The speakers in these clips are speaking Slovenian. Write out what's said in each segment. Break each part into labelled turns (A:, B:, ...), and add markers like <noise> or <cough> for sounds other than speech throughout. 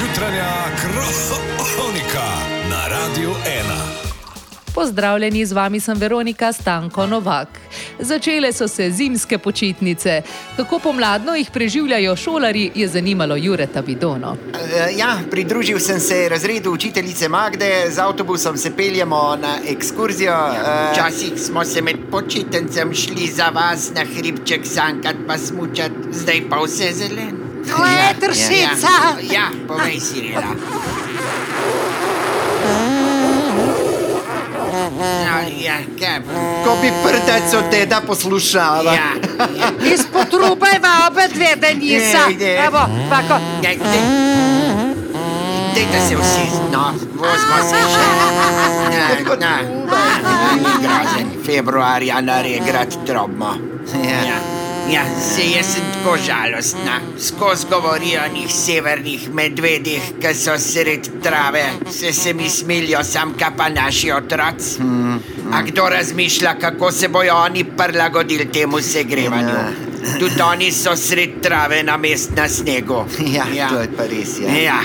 A: jutranja kronika na Radiu 1.
B: Pozdravljeni, z vami sem Veronika Stanko Novak. Začele so se zimske počitnice. Kako pomladno jih preživljajo šolari, je zanimalo Jureta Bidono.
C: Eh, Ja, pridružil sem se razredu učiteljice Magde, z avtobusom se peljemo na ekskurzijo. eh,
D: Včasih smo se med počitnicami šli za vas na hribček sankat, pa smučat, zdaj pa vse zelen.
E: To je tršica.
D: Ja, ja povej si reda. No, ja, kaj bo?
C: Ko bi prdeco teda poslušala.
D: Ja, ja.
E: Iz potrubajva oba dve, da nisa.
D: Ne, ne.
E: Evo, pako.
D: Daj, daj. Daj, da se vsi, no, vozimo se še. Na, na, na, grozen februarja na regrad drobno. Ja, ja, se jaz sem tako žalostna. Skozi govorijo o njih severnih medvedih, ki so sred trave, se se mi smilijo, sam ka pa naši otroci.
C: Mm.
D: A kdo razmišlja, kako se bojo oni prilagodili temu segrevanju?
C: Ja.
D: Tudi oni so sred trave na mest na snegu.
C: <laughs> Ja, ja, to je pa res. Ja.
D: Ja, ja,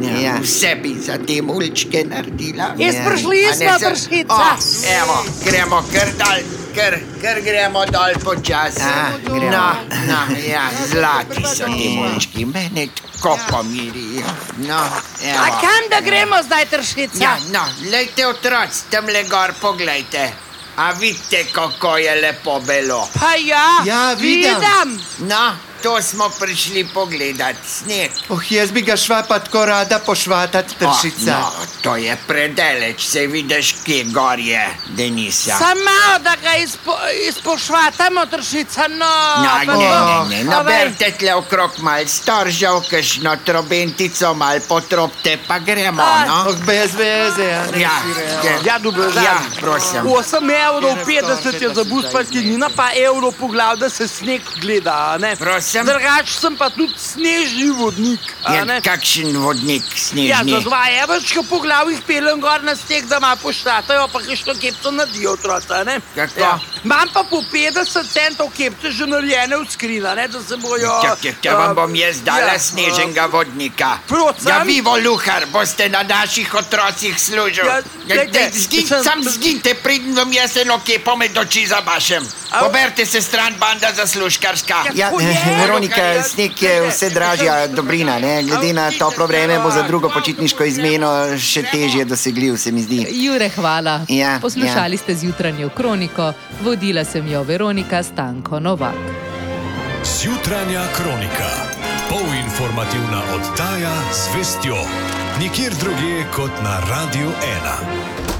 C: Ja.
D: ja. Vse bi za te mulčke naredila.
E: Iz
C: Ja.
E: prišli
D: A ne
E: smo,
D: za-
E: tršica.
D: O, Evo, gremo kar dol, kar, kar gremo dol počasi.
C: Ja, gremo.
D: No, no, ja, zlati so ti mulčki, mene tako pomirijo. No,
E: Ja. A
D: evo.
E: kam da gremo zdaj, tršica?
D: Ja, no, lejte otroci, tam le gor poglejte. A vidite, kako je lepo belo.
E: Pa ja,
C: Ja, vidim.
E: vidim.
D: No, to smo prišli pogledat, sneg.
C: Oh, jaz bi ga šla pa tako rada pošvatati, tršica.
D: O, no, to je predaleč, se vidiš, kje gor je, Denisa.
E: Samo, da ga izpo, izpošvatamo, tršica. No,
D: Ja,
E: pa
D: ne,
E: to. Ovaj,
D: ne, ne, naberte tle okrog mal storžev, kakšno trobentico mal potropte, pa gremo,
E: Aj.
D: no.
C: Oh, brez veze. Ja, ne
D: Ja,
C: šire,
D: ja.
F: Ja, dobro dan.
D: Ja, prosim.
F: 8 evrov 50 je za bus parkirnina, pa evro po glav, da se sneg gleda, a ne?
D: Prosim? Ja,
F: Drugač sem pa tudi snežni vodnik, a ne?
D: Je kakšen vodnik
F: Ja, za
D: snežni?
F: 2 evrčka po glav jih pelem gor na sneg, da ma poštatajo, pa kakšno kepco nadijo otroci, a ne? Ja.
D: Kako?
F: Imam pa po 50 centov kepce že narejene v skrina, ne, da se bojo...
D: Čakaj, Če vam bom jaz dala
F: ja,
D: sneženega vodnika.
F: Prosim?
D: Ja, vi, voluhar, boste na naših otrocih služil.
F: Ja, glejte,
D: Zginite,
F: sem-
D: sam zginite, pridem vam jaz eno kepo med oči zabašem.
F: A-
D: Poberte se stran, banda zaslužkarska.
C: Ja,
F: Tako je.
C: Veronika, sneg je vse <laughs> dražja dobrina. Ne? Glede na toplo vreme bo za drugo počitniško izmeno še težje dosegljiv, se mi zdi.
B: Jure, hvala.
C: Ja,
B: Poslušali ste zjutranjo kroniko, vodila sem jo Veronika Stanko Novak.
A: Zjutranja kronika. Polinformativna oddaja z vestjo. Nikjer drugje kot na Radiu 1.